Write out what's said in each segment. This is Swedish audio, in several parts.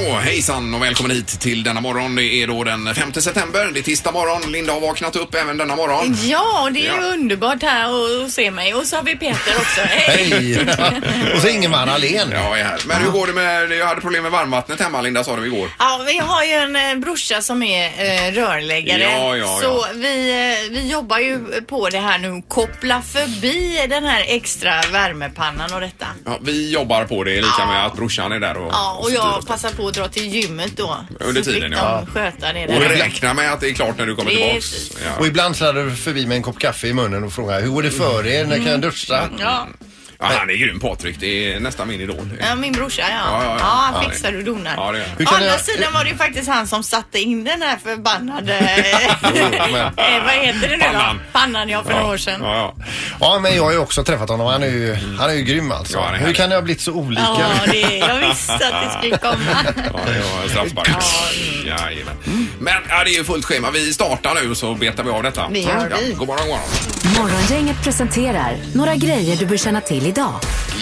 Hejsan och välkommen hit till denna morgon. Det är då den 5 september, det är tisdag morgon. Linda har vaknat upp även denna Mm. morgon. Ja, det är ju Ja. underbart här och, och se mig. Och så har vi Peter också. Hej! Hej! Och så Ingemar Ahlén. Ja, jag är här. Men hur går det med, jag hade problem med varmvattnet hemma Linda sa du igår. Ja, vi har ju en eh, brorsa som är eh, rörläggare. Ja, ja, ja. Så vi, eh, vi jobbar ju på det här nu. Koppla förbi den här extra värmepannan och detta. Ja, vi jobbar på det, lika med att brorsan är där och, Ja, och styr jag upp. passar på att dra till gymmet då. Under Så fick tiden, de ja. sköta det och där. räkna med att det är klart när du kommer tillbaks. Precis. Ja. Och ibland sladdar du förbi med en kopp kaffe i munnen och frågar hur går det för er? När kan jag duscha? Ja. Ja, han är grym Patrik, det är nästan min idol. Ja, min brorsa ja. Ja, ja, ja. Ja, han fixar det- och donar. Ja, det gör han. Hur Å kan andra jag- sidan var det ju faktiskt han som satte in den här förbannade... men- eh, vad heter det nu Pannan. då? Pannan ja, för några år sedan. Ja, ja. Ja, men jag har ju också träffat honom. Han är ju, han är ju grym alltså. Ja, han är hur härlig. kan det ha blivit så olika? Ja, det, jag visste att det skulle komma. Ja, det var straffspark. Jajamän. Men ja, det är ju fullt schema. Vi startar nu så betar vi av detta. Det gör ja, vi. God morgon, god morgon. Morgongänget presenterar några grejer du bör känna till idag.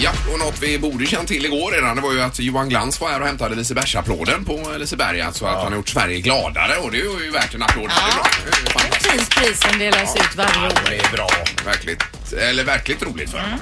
Ja, och något vi borde känt till igår redan det var ju att Johan Glans var här och hämtade Lisebergsapplåden på Liseberg. Alltså att han har gjort Sverige gladare och det är ju värt en applåd. Det är bra. Det är ju fantastiskt. Precis, prisen delas ut varje år. Det är bra. Verkligt, eller verkligt roligt för honom.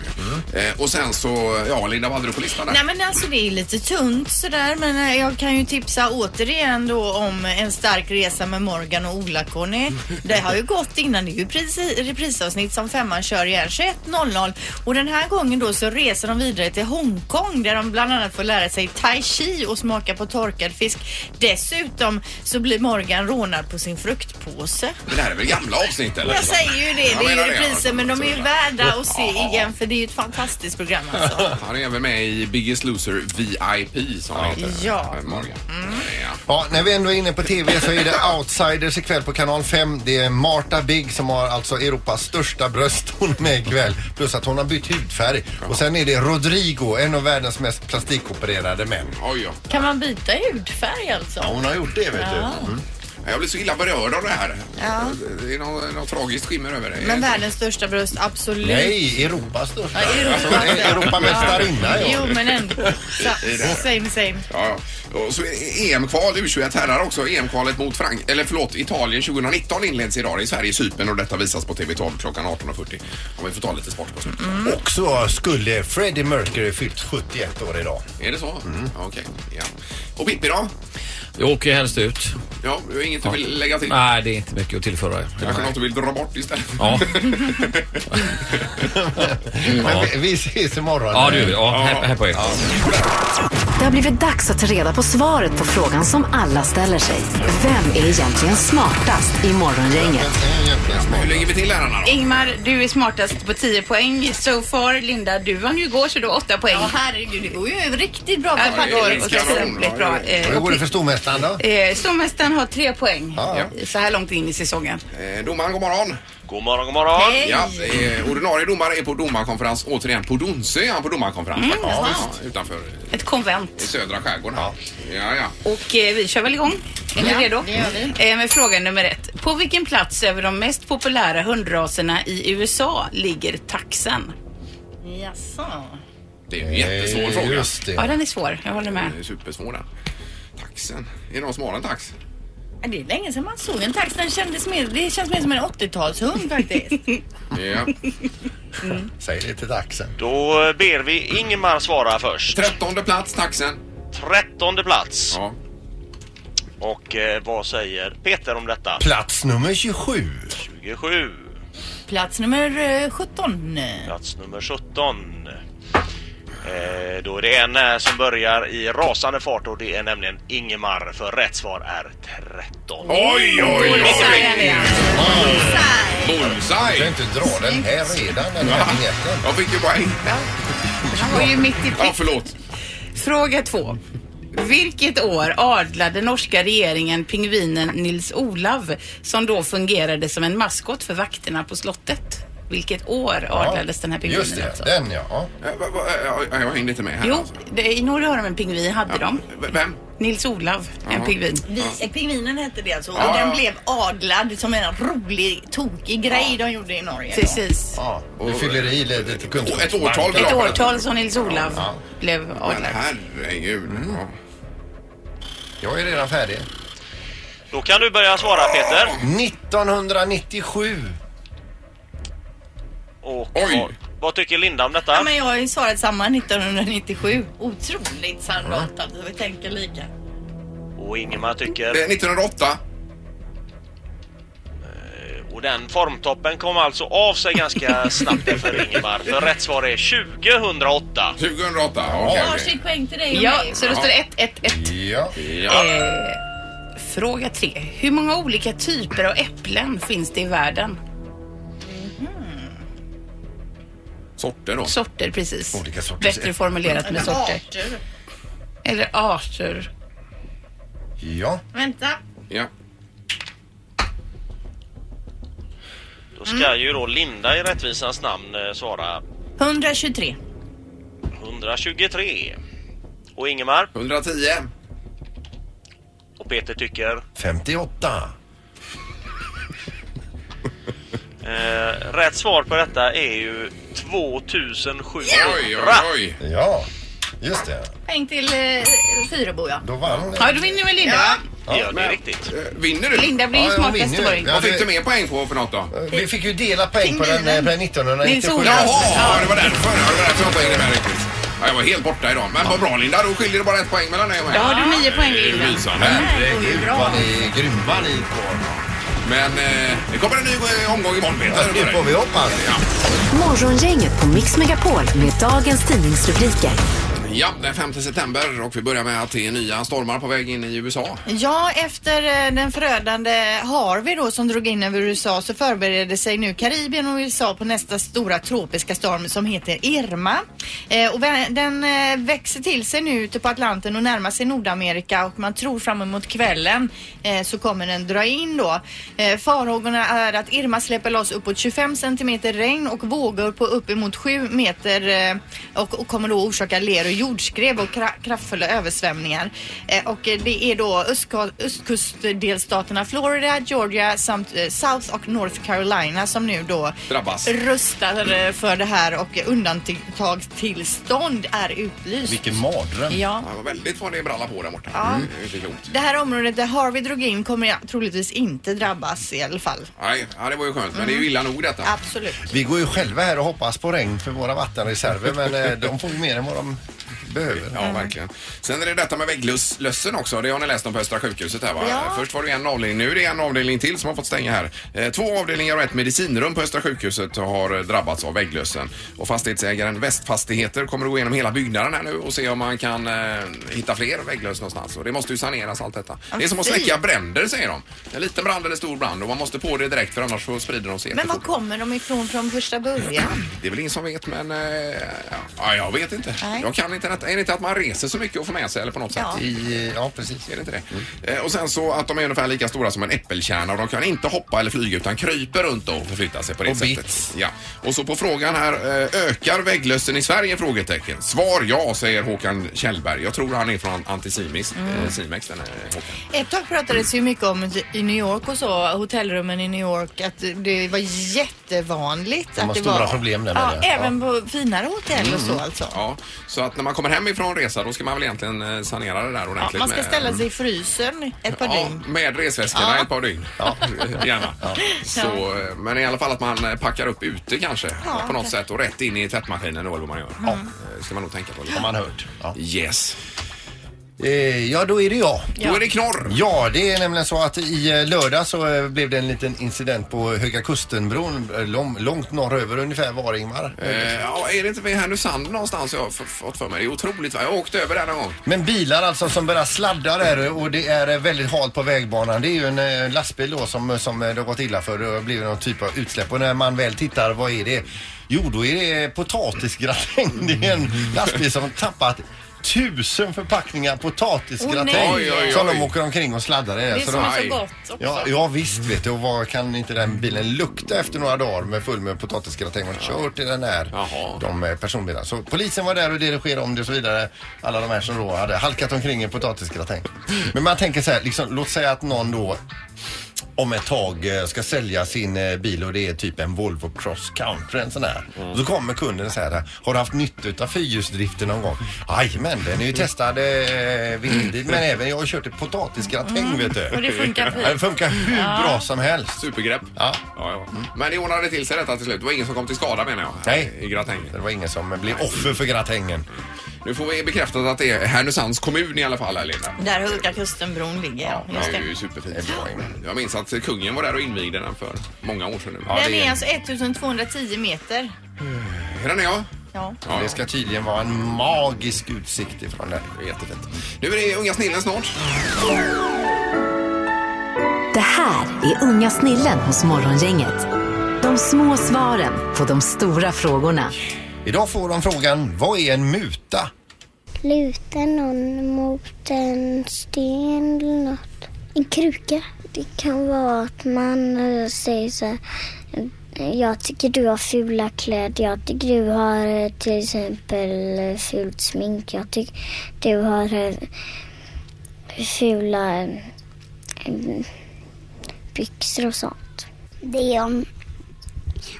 Eh, och sen så, ja Linda, vad hade du på listan där? Mm. Nej men alltså det är lite tunt sådär men eh, jag kan ju tipsa återigen då om En stark resa med Morgan och Ola-Conny. Det har ju gått innan, det är ju pris- reprisavsnitt som femman kör igen 21.00 och den här gången då så reser de vidare till Hongkong där de bland annat får lära sig tai chi och smaka på torkad fisk. Dessutom så blir Morgan rånad på sin fruktpåse. Men det här är väl gamla avsnitt eller? Jag säger ju det, Jag det är menar ju repriser alltså. men de är ju värda att se igen för det är ju ett fantastiskt program alltså. Han är även med i Biggest Loser VIP som han heter. Ja. Mm. Eh, Morgan. Ja. Ja, när vi ändå är inne på TV så är det Outsiders ikväll på kanal 5. Det är Marta Big som har alltså Europas största bröst hon är med ikväll. Plus att hon har bytt hudfärg. Och sen är det Rodrigo, en av världens mest plastikopererade män. Oj, ja. Kan man byta hudfärg alltså? Ja, hon har gjort det vet du. Mm. Jag blir så illa berörd av det här. Ja. Det är något, något tragiskt skimmer över det. Men världens största bröst, absolut. Nej, Europas största. Ja, Europas Alltså, största. Europamästarinna, ja. Jo, men ändå. Sa- I det här. Same, same. Ja, ja. och så är EM-kval, U21 herrar också. EM-kvalet mot Frank eller förlåt, Italien 2019 inleds idag. Det är Sverige, Cypern och detta visas på TV12 klockan 18.40. Om vi får ta lite sport på slutet. Mm. Och så skulle Freddie Mercury fyllt 71 år idag. Är det så? Ja, Okej. Ja. Och Pippi då? Jag åker helst ut. Ja, du har inget du vill lägga till? Nej, det är inte mycket att tillföra. Kanske något du vill dra bort istället? Ja, Mm. Men vi, vi ses imorgon. ja det gör vi. Ja, här, här på er. Det har blivit dags att ta reda på svaret på frågan som alla ställer sig. Vem är egentligen smartast i Morgongänget? Det är egentligen smart. Hur lägger vi till herrarna då? Ingmar, du är smartast på 10 poäng. So far, Linda, du vann ju igår så du har 8 poäng. Ja, herregud, det går ju riktigt bra Ja, för det det är går Pandora. ganska otroligt bra, bra. ja, Eh, Och hur går det okej. för stormästaren då? Eh, Stormästaren har 3 poäng Ja. eh, så här långt in i säsongen. Eh, domaren, god morgon. God morgon, god morgon. Ja, eh, ordinarie domare är på domarkonferens. Återigen, på Donsö är han på domarkonferens faktiskt. Ja, utanför eh, Ett konvent. södra skärgården. Ja, ja. ja. Och eh, vi kör väl igång? Är ni Ja, redo? det gör vi. Eh, med fråga nummer ett. På vilken plats över de mest populära hundraserna i USA ligger taxen? Jaså? Det är en jättesvår Eh, fråga. Just Ja, det. den är svår. Jag håller med. Den är supersvår den. Taxen. Är det någon som har en tax? Det är länge sedan man såg en tax. Den kändes mer, det känns mer som en 80-talshund faktiskt. Ja. Säg det till axeln. Då eh, ber vi Ingmar svara först. Trettonde plats, taxen. Trettonde plats. Ja. Och eh, vad säger Peter om detta? Plats nummer 27. 27. Plats nummer eh, 17. Plats nummer 17. Eh, då är det en eh, som börjar i rasande fart och det är nämligen Ingemar för rätt svar är 13. Oj, oj, oj! Du kan Bullseye! inte dra den här redan, den här vinjetten. Jag fick ju poäng. Han var ju mitt i Ja, prick. förlåt. Fråga två. Vilket år adlade norska regeringen pingvinen Nils Olav som då fungerade som en maskot för vakterna på slottet? Vilket år adlades den här pingvinen? Just det, alltså? den ja. Eh, va- va- eh, Jag, jag hängde inte med här. Jo, alltså. det, i norra har de en pingvin, hade Ja. de. V- Vem? Nils Olav, en pingvin. Vi, eh, Pingvinen hette det alltså. Och Ja, den ja. blev adlad som en rolig, tokig grej de gjorde i Norge. då. Precis. ja. Du fyller i lite kunskap. Ett årtal vill jag Ett ha på årtal som Nils Olav blev den. Mm. adlad. Herregud. Ja. Jag är redan färdig. Då kan du börja svara Peter. 1997. Och Oj. Vad, vad tycker Linda om detta? Ja, men jag har ju svarat samma 1997. Otroligt sannolikt att vi tänker lika. Och Ingemar tycker... Eh, 1908. Och den formtoppen kom alltså av sig ganska snabbt där för Ingemar. För rätt svar är 2008. 2008. okej, okej. Varsitt poäng till dig och Ja, mig. så då står det 1, 1, 1. Ja. Ja. Fråga 3. Hur många olika typer av äpplen finns det i världen? Sorter då. Sorter, precis. Olika sorters Bättre formulerat med sorter. Arter. Eller arter. Ja. Vänta. Ja. Då ska ju då Linda i rättvisans namn eh, svara 123. 123. Och Ingemar 110. och Peter tycker 58. eh, rätt svar på detta är ju 2700. Oj, oj, oj. Ja. Just det. Poäng till eh, Fyrebo, ja. Då vann Ja, då vinner väl Linda, va? Ja, det är riktigt. Eh, Vinner du? Linda blir ju Ja, jag smartast vinner i ju. början. Ja, Vad fick det- du mer poäng på för något då? Vi fick ju dela poäng på den, eh, på den 1997. Nils-Olof. Jaha, det var därför. Ja, det var därför jag inte hängde med riktigt. Ja, jag var helt borta idag. Men vad bra Linda, då skiljer det bara ett poäng mellan dig och mig. Då har du nio poäng, Det är Linda. Lysande. Herregud vad ni är grymma ni två. Men eh, det kommer en ny eh, omgång imorgon Peter. Alltså, Det får vi hoppas. Morgongänget på Mix Megapol med dagens tidningsrubriker. Ja, den 5 september och vi börjar med att det är nya stormar på väg in i USA. Ja, efter eh, den förödande Harvey då som drog in över USA så förbereder sig nu Karibien och USA på nästa stora tropiska storm som heter Irma. Eh, och vä- den eh, växer till sig nu ute på Atlanten och närmar sig Nordamerika och man tror fram emot kvällen eh, så kommer den dra in då. Eh, farhågorna är att Irma släpper loss uppåt 25 centimeter regn och vågor på uppemot 7 meter eh, och, och kommer då orsaka ler och jordskred och kra- kraftfulla översvämningar. Eh, och eh, det är då östka- östkustdelstaterna Florida, Georgia samt eh, South och North Carolina som nu då Drabbas. röstar eh, för det här och undantagstillstånd är utlyst. Vilken mardröm. Ja. Det var väldigt vad det brallar på där borta. Mm. Ja. Det är inte klokt. Det här området där Harvey drog in kommer jag troligtvis inte drabbas i alla fall. Nej, ja, det var ju skönt. Men det är ju illa nog detta. Absolut. Vi går ju själva här och hoppas på regn för våra vattenreserver men eh, de får ju mer än vad de behöver. Mm. Ja, verkligen. Sen är det detta med vägglössen också. Det har ni läst om på Östra sjukhuset här va? Ja. Först var det en avdelning, nu är det en avdelning till som har fått stänga här. Eh, Två avdelningar och ett medicinrum på Östra sjukhuset har eh, drabbats av vägglössen. Och fastighetsägaren Västfastigheter kommer att gå igenom hela byggnaden här nu och se om man kan eh, hitta fler vägglöss någonstans. Och det måste ju saneras allt detta. Det är som att fint. släcka bränder säger de. En liten brand eller stor brand och man måste på det direkt för annars så sprider de sig Men var jättefort. kommer de ifrån från första början? Det är väl ingen som vet men... Eh, ja, jag vet inte. Nej. Jag kan inte detta. Är det inte att man reser så mycket och får med sig eller på något sätt? Ja. I, ja typ. precis. Är det inte det? Eh, och sen så att de är ungefär lika stora som en äppelkärna och de kan inte hoppa eller flyga utan kryper runt och förflyttar sig på det Och sättet. bits. Ja. Och så på frågan här, eh, ökar vägglössen i Sverige? Frågetecken. Svar ja, säger Håkan Kjellberg. Jag tror han är från Antisimis, Mm. eh, Simex, den här Håkan. Ett tag pratades ju mycket om i New York och så, hotellrummen i New York, att det var jättevanligt. De har att det stora var, problem där Mm. med ja, det. Ja. Även på finare hotell och så alltså. Ja, Ja, så att när man kommer hem ifrån resa då ska man väl egentligen eh, sanera det där ordentligt. man ska med- ställa sig i frysen ett par Ja, dygn. med resväskorna ett par dygn. Gärna. Så, eh, men i alla fall att man eh, packar upp ute kanske Ja, på något kanske. Mm. sätt och rätt in i tvättmaskinen då eller vad man gör. Eh, Ska man nog tänka på. Lite. Har man hört. Ja. Yes. Eh, ja då är det jag. Då är det knorr. Ja, det är nämligen så att i eh, lördag så eh, blev det en liten incident på Höga Kustenbron. eh, Lång, långt norröver ungefär var Ingmar. Eh, ja, är det inte vid Härnösand någonstans jag har f- fått för mig? Det är otroligt. va? Jag åkte över där någon gång. Men bilar alltså som börjar sladda där och det är eh, väldigt halt på vägbanan. Det är ju en eh, lastbil då som, som eh, det har gått illa för. Det har blivit någon typ av utsläpp och när man väl tittar, vad är det? Jo, då är det potatisgratäng. Det är en lastbil som har tappat tusen förpackningar potatisgratäng Åh, nej. Oj, oj, oj. som de åker omkring och sladdar i. Det Så som de- är aj. så gott också. Ja, ja visst vet du. Och vad kan inte den bilen lukta efter några dagar med full med potatisgratäng och kört i den här Jaha. de eh, personbilarna. Så polisen var där och dirigerade om det och så vidare. Alla de här som då hade halkat omkring i potatisgratäng. Men man tänker så här, liksom, låt säga att någon då om ett tag eh, ska sälja sin eh, bil och det är typ en Volvo Cross Country en sån här. Mm. Och så kommer kunden och säger har du haft nytta av fyrhjulsdriften någon gång? Jajamän, den är ju testad eh, vintertid men även jag har kört ett potatisgratäng vet du. Mm. Och det funkar fint. Ja, Det funkar hur bra som helst. Supergrepp. Ja. Ja, ja. Men det ordnade till sig detta till slut. Det var ingen som kom till skada menar jag. Nej. I gratängen. Det var ingen som blev offer för gratängen. Nu får vi bekräftat att det är Härnösands kommun i alla fall här Linda. Där Höga Kustenbron ligger, ja. Ja, Just det är det. ju superfint. Jag minns att kungen var där och invigde den för många år sedan nu. Den är alltså 1210 meter. Här den är jag. Ja. Ja, Det ska tydligen vara en magisk utsikt ifrån det. det är jättefint. Nu är det Unga snillen snart. Det här är Unga snillen hos Morgongänget. De små svaren på de stora frågorna. Idag får de frågan, vad är en muta? luta någon mot en sten eller något. En kruka. Det kan vara att man eh, säger så här, jag tycker du har fula kläder. Jag tycker du har eh, till exempel eh, fult smink. Jag tycker du har eh, fula eh, eh, byxor och sånt. Det är om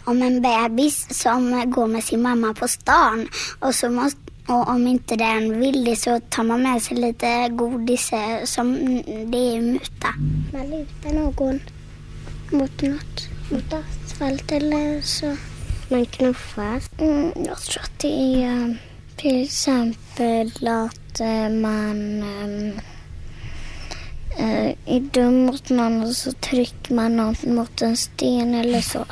om en bebis som går med sin mamma på stan och, så måste, och om inte den vill det så tar man med sig lite godis eh, som det är muta. Man lutar någon mot något, mot asfalt eller så. Man knuffas. Mm, jag tror att det är eh, till exempel att eh, man ehm, eh, är dum mot någon och så trycker man någon mot en sten eller så.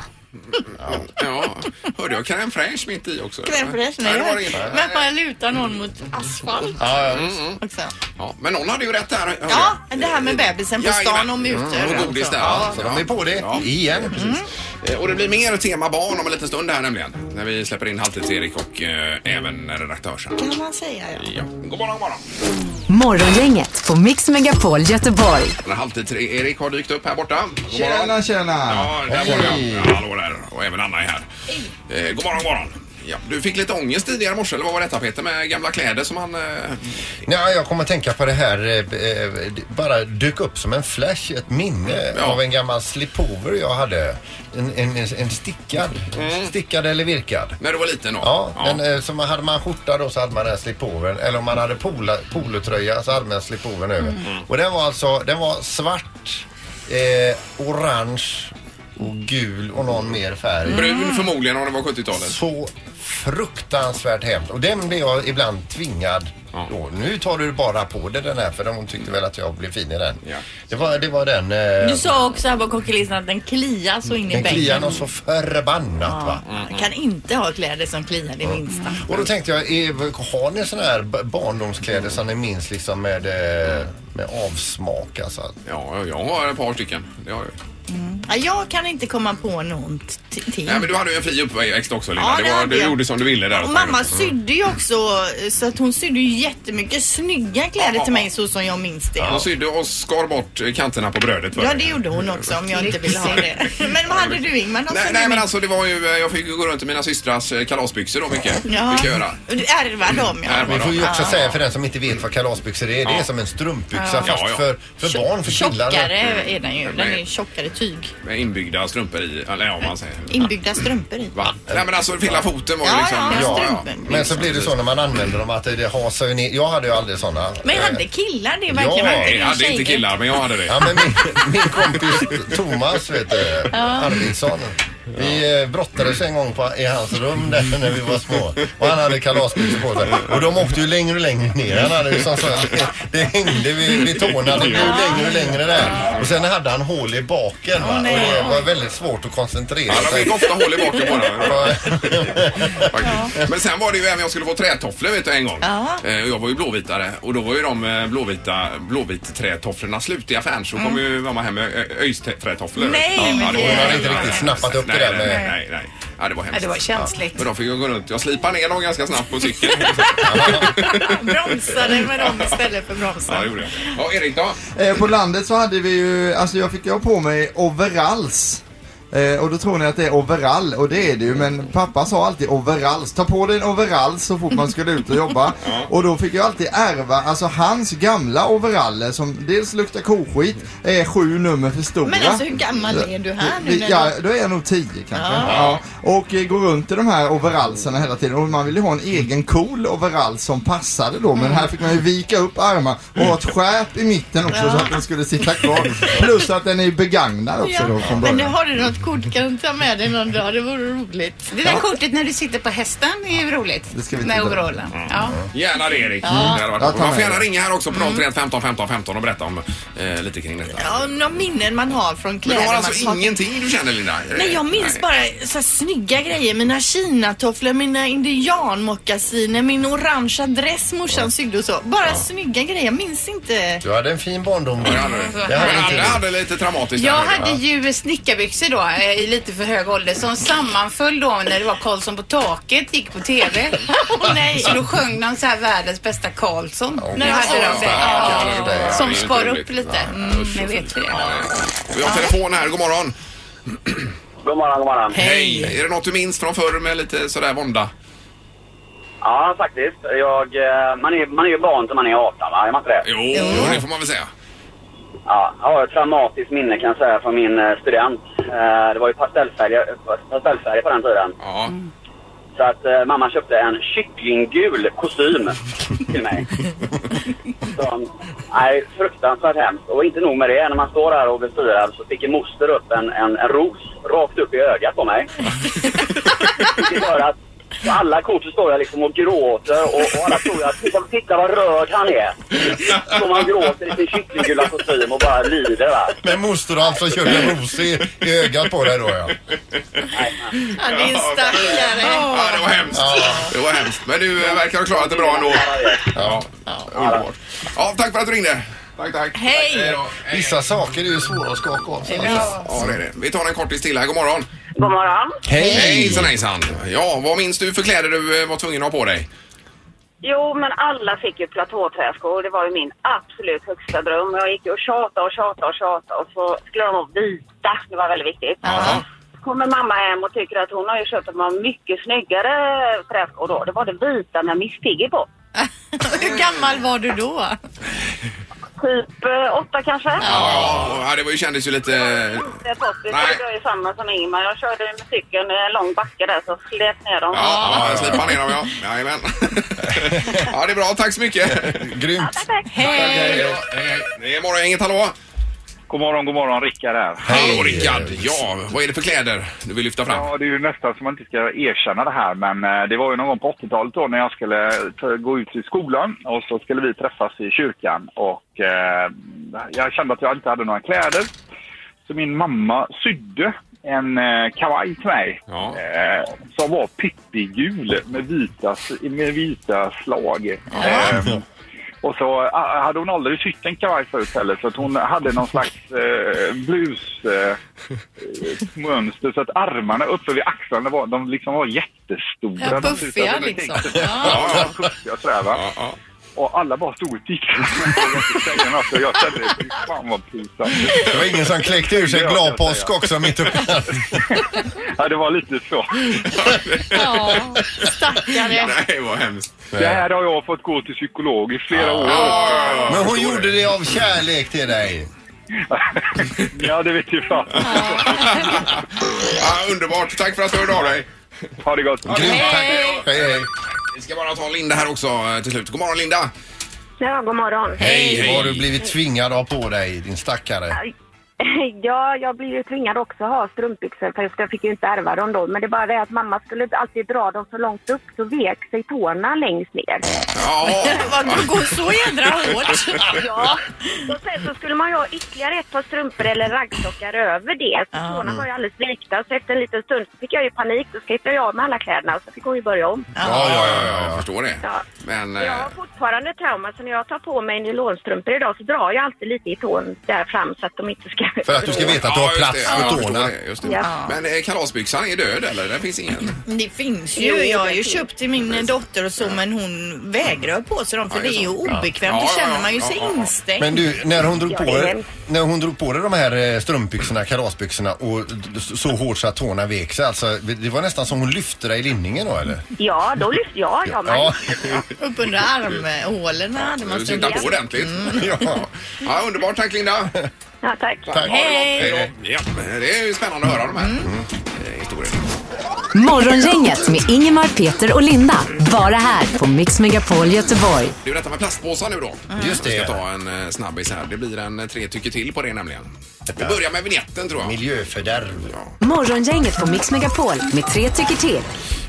Ja, hörde jag crème fraîche mitt i också? Crème fraîche, Nej, det var det nej. inte. Men att man lutar någon mot asfalt också. Ja, men någon hade ju rätt där. hörde Ja, jag. det här med bebisen på stan och mutor. Mm, och godis där. Ja, så Ja. de är på det Ja. igen. Eh, Och det blir mer tema barn om en liten stund här nämligen. När vi släpper in Halvtids-Erik och eh, även redaktörs Kan man säga ja. Ja, god morgon, god morgon. Morgongänget på Mix Megapol Göteborg. När Halvtids-Erik har dykt upp här borta. God morgon. Tjena, tjena! Ja, där var jag. Ja, Hallå där. Och även Anna är här. Eh, god morgon, god morgon. Ja, du fick lite ångest tidigare i morse, eller vad var detta Peter? Med gamla kläder som han... Eh, Nej, jag kommer att tänka på det här, eh, eh, det bara dök upp som en flash, ett minne Ja. av en gammal slipover jag hade. En, en, en stickad, stickad eller virkad. när du var liten då? Ja, Den, eh, så man, hade man skjorta då så hade man den här slipovern. Eller om man hade pola, polotröja så hade man slipovern över. Och den var alltså, den var svart, eh, orange och gul och någon mer färg. Brun förmodligen om det var 70-talet. Så fruktansvärt hemskt. Och den blev jag ibland tvingad Ja. då. Nu tar du bara på dig den här för de tyckte väl att jag blev fin i den. Ja. Det, var, det var den. Eh, Du sa också här på kockelisan att den kliar så in i den kliar bänken. något så förbannat va. Man kan inte ha kläder som kliar det minsta. Och då tänkte jag, är, har ni såna här b- barndomskläder som ni minns liksom med, eh, med avsmak alltså? att- Ja, jag har ett par stycken. Det har jag. Ja, Jag kan inte komma på något t- till. Nej, men du hade ju en fri uppväxt också Linda. Ja, det det var, hade du jag. gjorde som du ville där. Och mamma sydde ju också så att hon sydde ju jättemycket snygga kläder till mig så som jag minns det. Hon sydde och skar bort eh, kanterna på brödet. var Ja det gjorde hon också om jag inte ville ha det. Men vad hade du Ingmar? Någon Nej, som nej men du minns? alltså det var ju, eh, jag fick ju gå runt i mina systrars eh, kalasbyxor då mycket. Ja. Fick jag göra. Du ärvar dem ja. Ärvar Vi får ju också Ja. säga för den som inte vet vad kalasbyxor är, det är som en strumpbyxa fast Ja, ja. För, för barn, för killar. Tjockare är den ju. Den är ju tjockare tyg. Med inbyggda strumpor i, eller ja om man säger. Inbyggda strumpor i. Va? Nej men alltså fylla foten var ju Ja, liksom. ja, Ja, ja. Strumpor, Men så blir det så när man använder dem att det hasar ju ner. Jag hade ju aldrig såna. Men Eh, hade killar det verkligen? Ja, Var Nej, det jag hade tjejer? inte killar men jag hade det. Ja, men min, min kompis Thomas vet du, Arvidsson. Vi eh, brottades en gång på, i hans rum där när vi var små. Och han hade kalasbyxor på sig. Och de åkte ju längre och längre ner. Han hade ju som så, det hängde vid, vid tårna. Det blev längre och längre där. Och sen hade han hål i baken. Va? Och det var väldigt svårt att koncentrera Ja, de sig. fick ofta hål i baken bara. Ja, faktiskt. Men sen var det ju även jag skulle få trätofflor vet du en gång. Ja. Eh, och Jag var ju blåvitare och då var ju de eh, blåvita blåvitträtofflorna slut i affären så kom ju mamma hem med ö- öjsträtofflor. Nej, ja, men ja, det det- var- Hon hade inte riktigt snappat upp nej, det där nej, med... nej, nej, nej. Ja, det var Nej, hemskt. det var känsligt. Men de fick jag gå runt. Jag slipade ner dem ganska snabbt på cykeln. Bromsade med dem istället för Ja, det bromsar. gjorde jag. Ja, Erik då? Eh, på landet så hade vi ju, alltså jag fick jag på mig overalls. Eh, och då tror ni att det är overall och det är det ju men pappa sa alltid overalls. Ta på dig en overall så fort man skulle ut och jobba. Och då fick jag alltid ärva, alltså hans gamla overaller som dels luktar koskit, är sju nummer för stora. Men alltså hur gammal är du här nu? när Ja, du- då är jag nog tio kanske. Ja. Och eh, går runt i de här overallserna hela tiden. Och man vill ju ha en egen cool overall som passade då. Men här fick man ju vika upp armar och ha ett skärp i mitten också så att den skulle sitta kvar. Plus att den är begagnad också då Ja, från men det början. har du något kort kan du ta med dig någon dag, det vore roligt. Det där kortet när du sitter på hästen är ju roligt. Det ska vi med titta på. overallen. Ja. Gärna det Erik. Det hade varit Jag bra. tar Man får med gärna det. ringa här också på 031 15 15 15 och berätta om eh, lite kring detta. Ja, om några minnen man har från Men kläder. du har man alltså har- ingenting du känner Linda? Är det- Nej, jag minns Nej. bara så här, snygga grejer. Mina kinatofflor, mina indianmockasiner, min orangea dress morsan sydde och så. Bara snygga grejer. Jag minns inte. Du hade en fin barndom. Ja, det hade du. Det hade Men inte alla du. hade lite traumatiskt. Jag där nu, hade va? ju snickarbyxor då eh, i lite för hög ålder som sammanföll då när det var Karlsson på taket gick på TV. Åh nej! Så då sjöng de så här världens bästa Karlsson. Nej, Det hade alltså. de det. Ja, Ja. det hade de. Som Det är spar inte upp roligt. lite. Nej, Mm, usch, ni usch, vet hur det Ja, är. nej. Vi har telefon här, god morgon. God morgon, god morgon. Hej! Är det något du minns från förr med lite sådär vånda? Ja, faktiskt. Jag, eh, man, är, man är ju barn till man är 18, va? Är man inte det? Jo, det får man väl säga. Ja, jag har ett traumatiskt minne kan jag säga från min eh, student. Eh, Det var ju pastellfärger, pastellfärger på den tiden. Ja. Så att eh, mamma köpte en kycklinggul kostym till mig. Som, nej, fruktansvärt hemskt. Och inte nog med det, när man står där och blir styrad så sticker moster upp en, en, en ros rakt upp i ögat på mig. Vilket gör att på alla kort så står jag liksom och gråter och, och alla tror att titta, titta vad röd han är. Så man gråter i sin kycklinggula kostym och bara lider va. Men moster har alltså kört en ros i, i ögat på dig då ja. Ja, det är en stackare. Ja, det var hemskt. Det var hemskt. Men du eh, verkar ha klarat det bra ändå. Ja, underbart. Ja, tack för att du ringde. Tack, tack. Hej. Hej då. Hej. Vissa saker är ju svåra att skaka av sig. Ja, det är det. Vi tar en kortis till här. God morgon. God morgon. Hej! Hejsan, hejsan. Ja, vad minns du för kläder du eh, var tvungen att ha på dig? Jo, men alla fick ju platåträskor. Det var ju min absolut högsta dröm. Jag gick ju och tjatade och tjatade och tjatade och så skulle de vara vita. Det var väldigt viktigt. Jaha. Kommer mamma hem och tycker att hon har ju köpt de här mycket snyggare träskor då. Det var det vita med Miss Piggy på. Hur gammal var du då? Typ eh, åtta kanske? Ja, ja, det var ju, kändes ju lite... Det är toppigt. Nej. Det var ju samma som Ingmar. Jag körde ju med cykeln i en lång backe där så slet ner dem. Ja, ja slipa ner dem, ja. Jajamän. Ja, det är bra. Tack så mycket. Grymt. Hej! hej. Det är Morgongänget, hallå! God morgon, god morgon. Rickard här. Hallå Rickard! Ja, vad är det för kläder du vill lyfta fram? Ja, det är ju nästan som man inte ska erkänna det här, men eh, det var ju någon gång på 80-talet då när jag skulle ta- gå ut i skolan och så skulle vi träffas i kyrkan och eh, jag kände att jag inte hade några kläder. Så min mamma sydde en eh, kavaj till mig Ja. eh, som var pyttigul med vita, s- med vita slag. Eh, och så eh, hade hon aldrig sytt en kavaj förut heller så att hon hade någon slags eh, blus... Eh, mönster så att armarna uppe vid axlarna var, de liksom var jättestora. Ja, De såg ut puffiga att de liksom. tänkte- Ja. Ja, ja. Ja, puffiga och sådär va. Ja, ja. Och alla bara stod och tittade. Jag vågade inte säga något och jag kände, fy fan vad pinsamt. Det var ingen som kläckte ur sig Ja, glad kan jag påsk också mitt uppe i allt. Ja, det var lite så. Ja, stackare. Nej, vad hemskt. Det här har jag fått gå till psykolog i flera år. Ja, Men hon förstår gjorde det av kärlek till dig. Ja, det vet ju fan. Ja, underbart. Tack för att du hörde av dig. Ha det gott. Grymt, tack. Hej, hej. Vi ska bara ta Linda här också eh, till slut. God morgon Linda! Ja, god morgon. Hej, Vad har du blivit tvingad av på dig, din stackare? Ja, jag blir ju tvingad också att ha strumpbyxor för jag fick ju inte ärva dem då. Men det är bara det att mamma skulle alltid dra dem för långt upp så vek sig tårna längst ner. Ja, Vad du går så jädra hårt. Ja, och sen så skulle man ju ha ytterligare ett par strumpor eller raggsockar över det. Så Ja. tårna var ju alldeles vikta så efter en liten stund så fick jag ju panik. Då skejtade jag av med alla kläderna och så fick hon ju börja om. ja, ja, ja, jag förstår det. Ja. Men eh, Jag har fort- fortfarande trauma så när jag tar på mig nylonstrumpor idag så drar jag alltid lite i tån där fram så att de inte ska... För att du ska veta att du har just plats det. för jag förstår tårna. det, just det. Ja. Men eh, kalasbyxan är död eller? Den finns Mm. ingen? Det finns ju. Jo, Jag har det ju finns. köpt till min dotter och så men hon vägrar ha på sig dem för Ja, det det är är ju så. Ja. obekvämt. Ja, Då ja, känner ja, man ju ja, sig ja, ja. instängd. Men du, när hon drog på Ja, det är dig, hemskt. när hon drog på dig de här eh, strumpbyxorna, kalasbyxorna och d- så hårt så att tårna vek sig. Alltså, det var nästan som hon lyfte dig i linningen då eller? Ja, då lyfter jag. Ja, man, Ja. Upp under armhålorna hade man Du tittar strumpat. på ordentligt. Mm. Ja. Ja, underbart. Tack Linda. ja tack. Tack. Hej då. Ja, det är ju spännande att höra de här Mm. eh, historierna. Morgongänget med Ingemar, Peter och Linda. Bara här på Mix Megapol Göteborg. Det är ju detta med plastpåsar nu då. Mm. Just Vi det. ska ta en eh, snabbis här. Det blir en eh, tre tycker till på det nämligen. Vi börjar med vignetten tror jag. Miljöfördärv. Morgongänget på Mix Megapol med tre tycker till.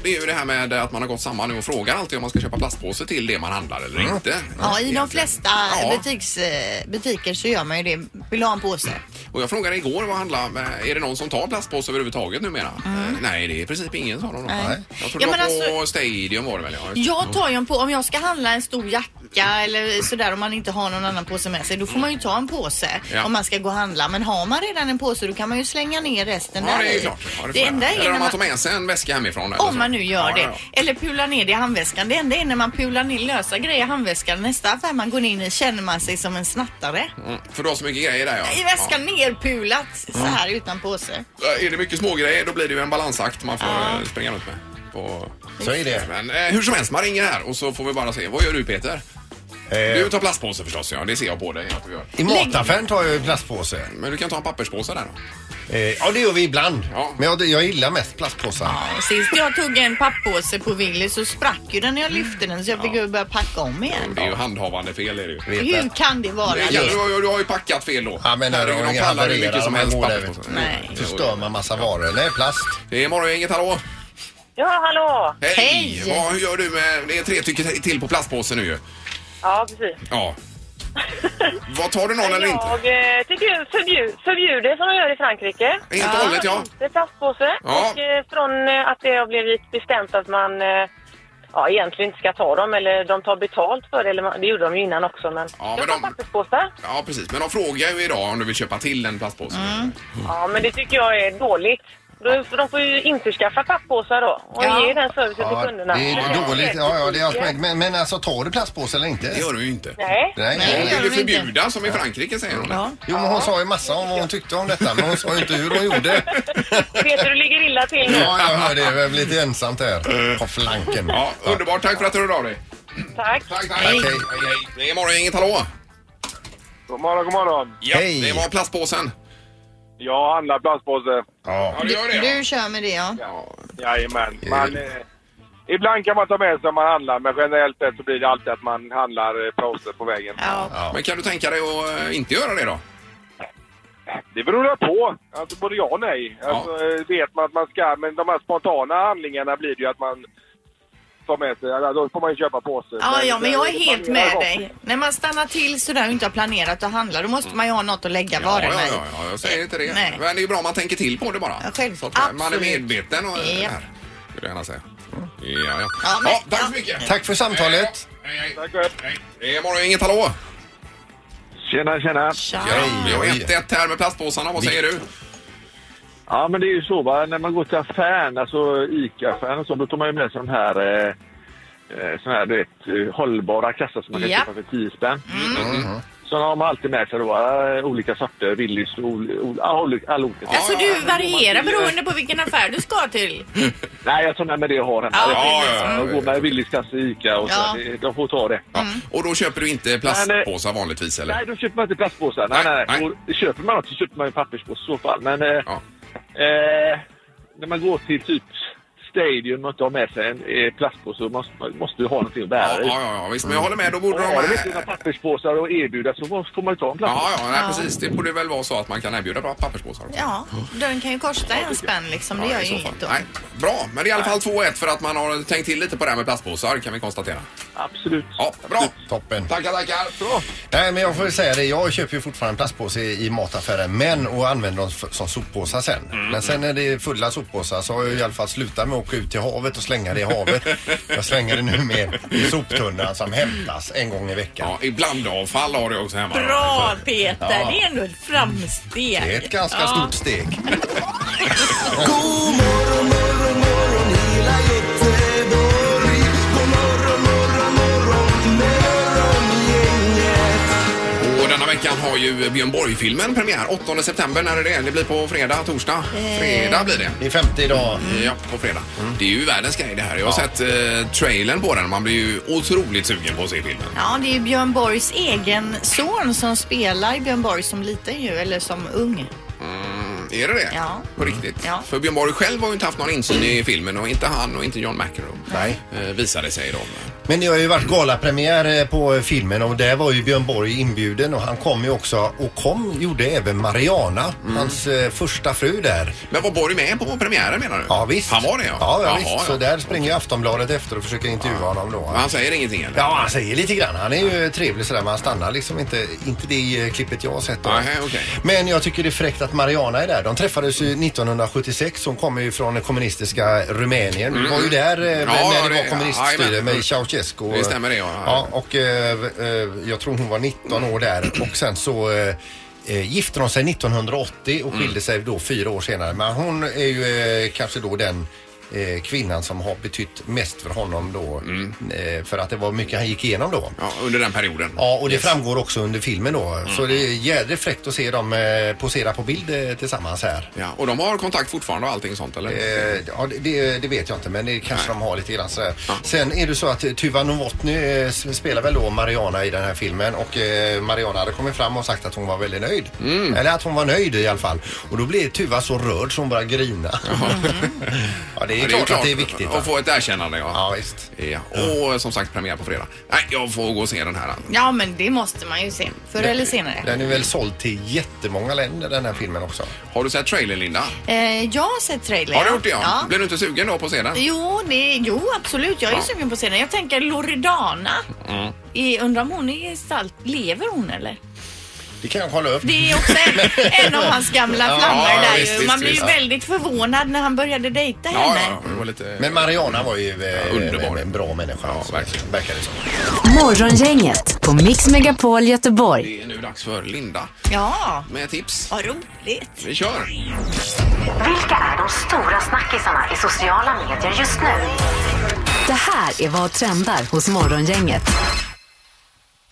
Det är ju det här med att man har gått samman nu och frågar alltid om man ska köpa plastpåse till det man handlar eller inte. Mm. Ja, i de flesta Ja. butiks, eh, butiker så gör man ju det. Vill du ha en påse? Och jag frågade igår vad handlar men är det någon som tar plastpåse överhuvudtaget numera? Mm. Nej, det är i princip ingen sa de. då. Nej. Jag tror Ja, det var men alltså- på Stadium var det väl? Ja. Jag tar ju en på, om jag ska handla en stor jacka eller sådär om man inte har någon annan påse med sig, då får man ju ta en påse Ja. om man ska gå och handla. Men har man redan en påse då kan man ju slänga ner resten Ja, där det är i. ju klart. Ja, det får det jag. enda är eller när om man tar man, med sig en väska hemifrån. eller så. om man nu gör Ja, det. ja, Eller pular ner det i handväskan. Det enda är när man pular ner lösa grejer i handväskan. Nästa affär man går in i känner man sig som en snattare. ja. Mm, För du har så mycket grejer där ja. Mm. I väskan nerpulat så här utan påse. Ja. Är det mycket smågrejer då blir det ju en balansakt man får eh, springa runt med. På... Så är det. Men eh, hur som helst, man ringer här och så får vi bara se. Vad gör du Peter? Du Eh, tar plastpåse förstås, ja. Det ser jag på dig att du gör. I mataffären tar jag ju plastpåse. Men du kan ta en papperspåse där då. Eh, ja, det gör vi ibland. Ja. Men jag, jag gillar mest plastpåsar. Och Sist jag tog en papppåse på Willys så sprack ju den när jag lyfte den så jag Mm. fick ju börja packa om igen. Det är ju handhavande fel är det ju. Vet Hur det. kan det vara Det det? kan, du, har ju- du har ju packat fel då. Ja, men när Herregud, de de pallar hur havererar, mycket som de helst går där, papper. vet på du. sig. Nej. Förstör man massa varor. Nej, plast. Det är morgongänget, hallå! Ja, hallå! Hej! Hej. Vad, hur gör du med... Det är tre tycker till på plastpåsen nu ju. Ja, precis. Ja. Vad tar du någon eller inte? eh, tycker förbjud, förbjud det som de gör i Frankrike. Helt och hållet, ja. Det är plastpåse. Ja. Och eh, från eh, att det har blivit bestämt att man eh, ja, egentligen inte ska ta dem eller de tar betalt för det. Eller man, det gjorde de ju innan också men... Ja, men jag de- tar papperspåsar. Mm. Ja, precis. Men de frågar ju idag om du vill köpa till en plastpåse. Mm. Ja men det tycker jag är dåligt. Då- för De får ju införskaffa papppåsar då och Ja. ge den servicen Ja, till kunderna. det är dåligt. Ja, ja, det är allt möjligt. Men, men alltså, tar du plastpåse eller inte? Det gör du ju inte. Nej. Nej. Nej. Det gör är det de inte. förbjuda som i Frankrike säger de. Ja. Jo, men hon sa ju massa om vad hon tyckte om detta, men hon sa ju inte hur hon gjorde. Peter, du ligger illa till nu. Ja, jag hör det. Jag är lite ensamt här på flanken. Ja, underbart. Tack för att du hörde av dig. Tack. Tack, tack. Hej. Hej, hej. Det är morgongänget, hallå! God morgon, god morgon. Ja, Hej. det var plastpåsen. Jag handlar plastpåse. Ja. Ja, du gör det. Du kör med det ja. Ja. Jajamän. Man, eh, ibland kan man ta med sig om man handlar, men generellt sett så blir det alltid att man handlar eh, plåster på vägen. ja. Ja. Men kan du tänka dig att eh, inte göra det då? Det beror det på. Alltså både ja och nej. Ja. Alltså, eh, vet man att man ska, men de här spontana handlingarna blir det ju att man tar med sig, eller då får man ju köpa påse. Ja, ja, men jag är eh, helt planerar med gott. dig. När man stannar till sådär och inte har planerat att handla, då måste man ju ha något att lägga Ja, varorna ja, i. ja, ja, jag säger inte det. Nej. Men det är ju bra om man tänker till på det bara. Ja, själv- Så att eh, man är absolut. medveten och Ja. här, vill jag gärna säga. Ja, ja. Ja, men- ja, tack så ja. mycket. Tack för samtalet. Hej, hej. Tack själv. Hej. Det är morgon, inget hallå. Tjena, tjena. Tja. Ja, vi har Hej. 1-1 här med plastpåsarna. Vad säger du? Ja, men det är ju så va, när man går till affären, alltså ICA-affären och så, då tar man ju med sig de här, eh, eh, såna här du vet, eh, hållbara kassar som man kan Ja. köpa för 10 spänn. Mm. Så har man alltid med sig då, eh, olika sorter, Willys och ol- ol- alla olika- alla olika. Alltså du varierar beroende på vilken affär du ska till. Nej, jag tar med mig det jag har hemma. Ja, ja, ja. Jag går med Willys kasse i ICA och så, Ja. det- de får ta det. Ja. Och då köper du inte plastpåsar vanligtvis eller? Nej, då köper man inte plastpåsar. Nej, Nej, nej, nej. nej. Och köper man något så köper man ju papperspåse i så fall. Men eh, Ja. eh, när man går till typ Stadium och inte har med sig en eh, plastpåse så måste man måste ju ha någonting att Ja, bära i. ja, ja, visst. Men jag håller med. Då Och borde de... Har de Ja, inte några papperspåsar att erbjuda så får- får man ju ta en plastpåse. ja, nej, precis. Det borde väl vara så att man kan erbjuda bra papperspåsar också. Ja, den kan ju kosta en spänn liksom. Det Ja, gör i ju så fall. inget då. Nej, Bra, men det är i alla fall 2-1 för att man har tänkt till lite på det här med plastpåsar kan vi konstatera. absolut. Ja, bra. Toppen. Tackar, tackar. Bra. Nej, men jag får ju säga det. Jag köper ju fortfarande plastpåse i i mataffären, men och använder dem f- som soppåsar sen. Men sen när det är fulla soppåsar så har jag i alla fall slutat med att åka ut till havet och slänga det i havet. jag slänger det nu med i soptunnan som hämtas en gång i veckan. Ja, ibland avfall har du också hemma. då. Bra Peter, det är ändå ett framsteg. Det är ett ganska stort steg. Och denna veckan har ju Björn Borg-filmen premiär. 8 september, när är det? Det blir på fredag, torsdag? Eh, Fredag blir det. Det är 50 idag. Eh, Ja, på fredag. Det är ju världens grej det här. Jag har sett eh, trailern på den. Man blir ju otroligt sugen på att se filmen. Ja, det är ju Björn Borgs egen son som spelar Björn Borg som liten ju, eller som ung. Mm, Är det det? Ja. På riktigt? Ja. För Björn Borg själv har ju inte haft någon insyn i filmen och inte han och inte John McEnroe. Nej. Eh, visade sig då. Men det har ju varit galapremiär eh, på filmen och där var ju Björn Borg inbjuden och han kom ju också och kom gjorde även Mariana, hans eh, första fru där. Men var Borg med på premiären menar du? Ja visst. Han var det ja. Ja, ja Jaha, visst. Så där springer ju Aftonbladet efter och försöker intervjua honom då. Men Han säger ingenting eller? Ja, han säger lite grann. Han är ju trevlig sådär men han stannar liksom inte, inte det eh, klippet jag har sett då. Nej, okej. Men jag tycker det är fräckt att Mariana är där. De träffades ju 1976. Hon kommer ju från det kommunistiska Rumänien. Du var ju där eh, när det var Mm. det- kommuniststyre jajamän. med Ceausescu. Det stämmer det, ja. ja och eh, eh, jag tror hon var 19 år där och sen så eh, eh, gifte de sig 1980 och Mm. skilde sig då fyra år senare. Men hon är ju eh, kanske då den eh, kvinnan som har betytt mest för honom då. Mm. Eh, för att det var mycket han gick igenom då. Ja, under den perioden. Ja, och det framgår också under filmen då. Så Mm. det är jädrigt fräckt att se dem eh, posera på bild eh, tillsammans här. Ja, och de har kontakt fortfarande och allting sånt eller? Eh, ja, det- det, det vet jag inte, men det kanske de har lite grann sådär. Sen är det så att eh, Tuva Novotny eh, s- spelar väl då Mariana i den här filmen och eh, Mariana hade kommit fram och sagt att hon var väldigt nöjd. Eller att hon var nöjd i alla fall. Och då blev Tuva så rörd så hon började grina. ja, det är, Ja, klart, att det är viktigt. va? Att få ett erkännande ja. Ja, visst. Ja, och som sagt premiär på fredag. Nej, jag får gå och se den här. alltså. Ja, men det måste man ju se. Förr eller senare. Den är väl såld till jättemånga länder den här filmen också. Har du sett trailern, Linda? Eh, jag har sett trailern. Har du gjort det, ja? Blir du inte sugen då på att se den? Jo, det, jo, absolut. Jag är ju sugen på att se den. Jag tänker Loredana. Mm. I, undrar om hon är gestalt. Lever hon eller? Det kan jag kolla upp. Det är också en, en av hans gamla flammor ja, där visst, ju. visst, Man blir ju visst. väldigt förvånad när han började dejta Ja, henne. ja, det var lite... Men Mariana var ju eh, underbar. en bra människa. alltså. verkligen. Verkar det som. Morgongänget på Mix Megapol Göteborg. Det är nu dags för Linda Ja, med tips. vad roligt. Vi kör! Vilka är de stora snackisarna i sociala medier just nu? Det här är vad trendar hos Morgongänget.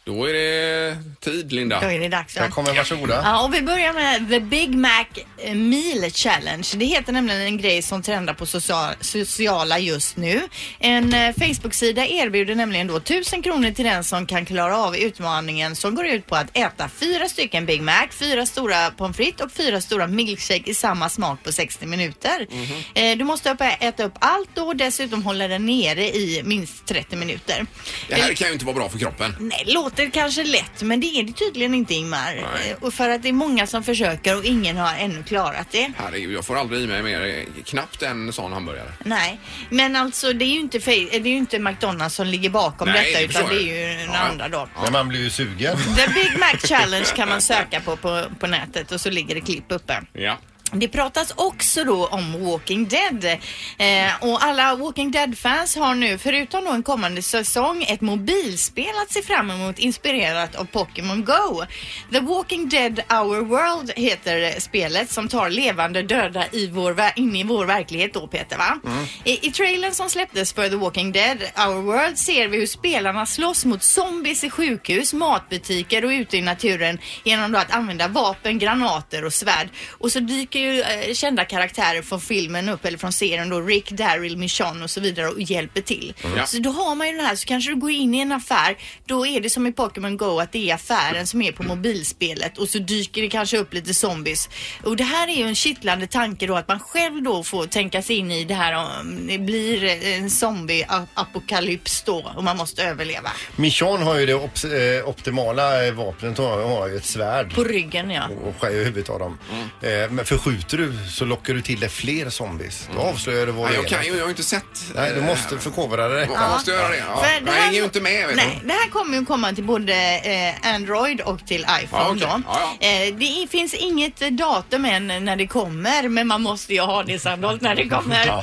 Då är det tid, Linda. Då är det dags. Jag va? kommer, varsågoda. Ja, och vi börjar med The Big Mac eh, Meal Challenge. Det heter nämligen en grej som trendar på socia- sociala just nu. En eh, Facebook-sida erbjuder nämligen då 1000 kronor till den som kan klara av utmaningen som går ut på att äta fyra stycken Big Mac, fyra stora pommes frites och fyra stora milkshake i samma smak på 60 minuter. Mhm. Eh, Du måste upp- äta upp allt och dessutom hålla den nere i minst 30 minuter. Det här kan ju inte vara bra för kroppen. Nej, låter kanske lätt men det är det tydligen inte Ingmar. Eh, Och för att det är många som försöker och ingen har ännu klarat det. Herregud, jag får aldrig i mig mer, eh, knappt en sån hamburgare. Nej, men alltså det är ju inte, fe- eh, det är ju inte McDonalds som ligger bakom Nej, detta det utan förstår det är jag. ju några Ja. andra då. Men man blir ju sugen. The Big Mac Challenge kan man söka på, på på nätet och så ligger det klipp uppe. Ja. Det pratas också då om Walking Dead eh, och alla Walking Dead-fans har nu förutom då en kommande säsong ett mobilspel att se fram emot inspirerat av Pokémon Go. The Walking Dead Our World heter eh, spelet som tar levande döda i vår, vä- in i vår verklighet då Peter va? I, I trailern som släpptes för The Walking Dead Our World ser vi hur spelarna slåss mot zombies i sjukhus, matbutiker och ute i naturen genom då att använda vapen, granater och svärd. Och så dyker ju eh, kända karaktärer från filmen upp eller från serien då Rick, Daryl, Michonne och så vidare och hjälper till. Ja. Så då har man ju den här så kanske du går in i en affär. Då är det som i Pokémon Go att det är affären som är på mobilspelet och så dyker det kanske upp lite zombies. Och det här är ju en kittlande tanke då att man själv då får tänka sig in i det här om det blir en zombie-apokalyps då och man måste överleva. Michon har ju det obs- eh, optimala eh, vapnet. Hon har- hon har ju ett svärd. På Mm. ryggen ja. och skär ju huvudet av dem. Eh, men för skjuter du så lockar du till dig fler zombies. Mm. Då avslöjar du vad Nej, det jag kan är. ju, jag har ju inte sett. Nej, du eh, måste förkovra dig. Jag måste göra det. Ja. För det Jag här- hänger ju inte med. Vet Nej, det här kommer ju komma till både eh, Android och till iPhone Ja, okej. då. Ja, Eh, det i- finns inget eh, datum än när det kommer, men man måste ju ha det samlat när det kommer. du.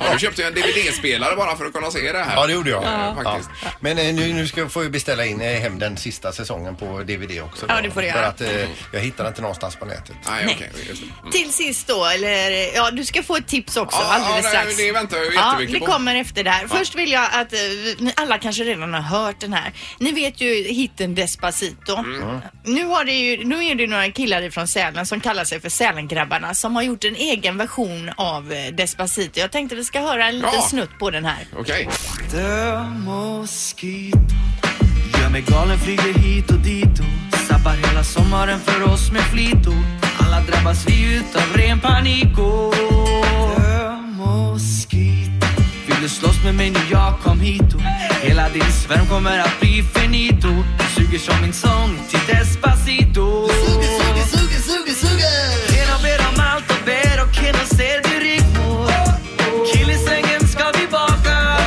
Ja, du köpte ju en DVD-spelare bara för att kunna se det här. Ja, det gjorde jag. Eh, Ja. Faktiskt. Men eh, nu, nu ska jag, får jag beställa in eh, hem den sista säsongen på DVD också. Ja, det får du För göra. Mm. att eh, jag hittar inte någonstans på nätet. Nej, okej. just det. Mm. Till sist då, eller ja, du ska få ett tips också Ja, alldeles ja, strax. det- det väntar jag ju Ja, jättemycket det på. kommer efter det här. Först vill jag att eh, ni alla kanske redan har hört den här. Ni vet ju hitten Despacito. Mm. Nu, har det ju, nu är det några killar från Sälen som kallar sig för Sälengrabbarna som har gjort en egen version av eh, Despacito. Jag tänkte vi ska höra en liten Ja. snutt på den här. Okej. Gör mig galen, flyger hit och dit och sabbar hela sommaren för oss med flit och alla drabbas vi utav ren panik och Dö, moskito. Vill du slåss med mig när jag kom hit och hela din svärm kommer att bli finito Suger som min sång till Despacito Genom ber om allt och ber och killen ser du riktmål Kill i sängen ska vi baka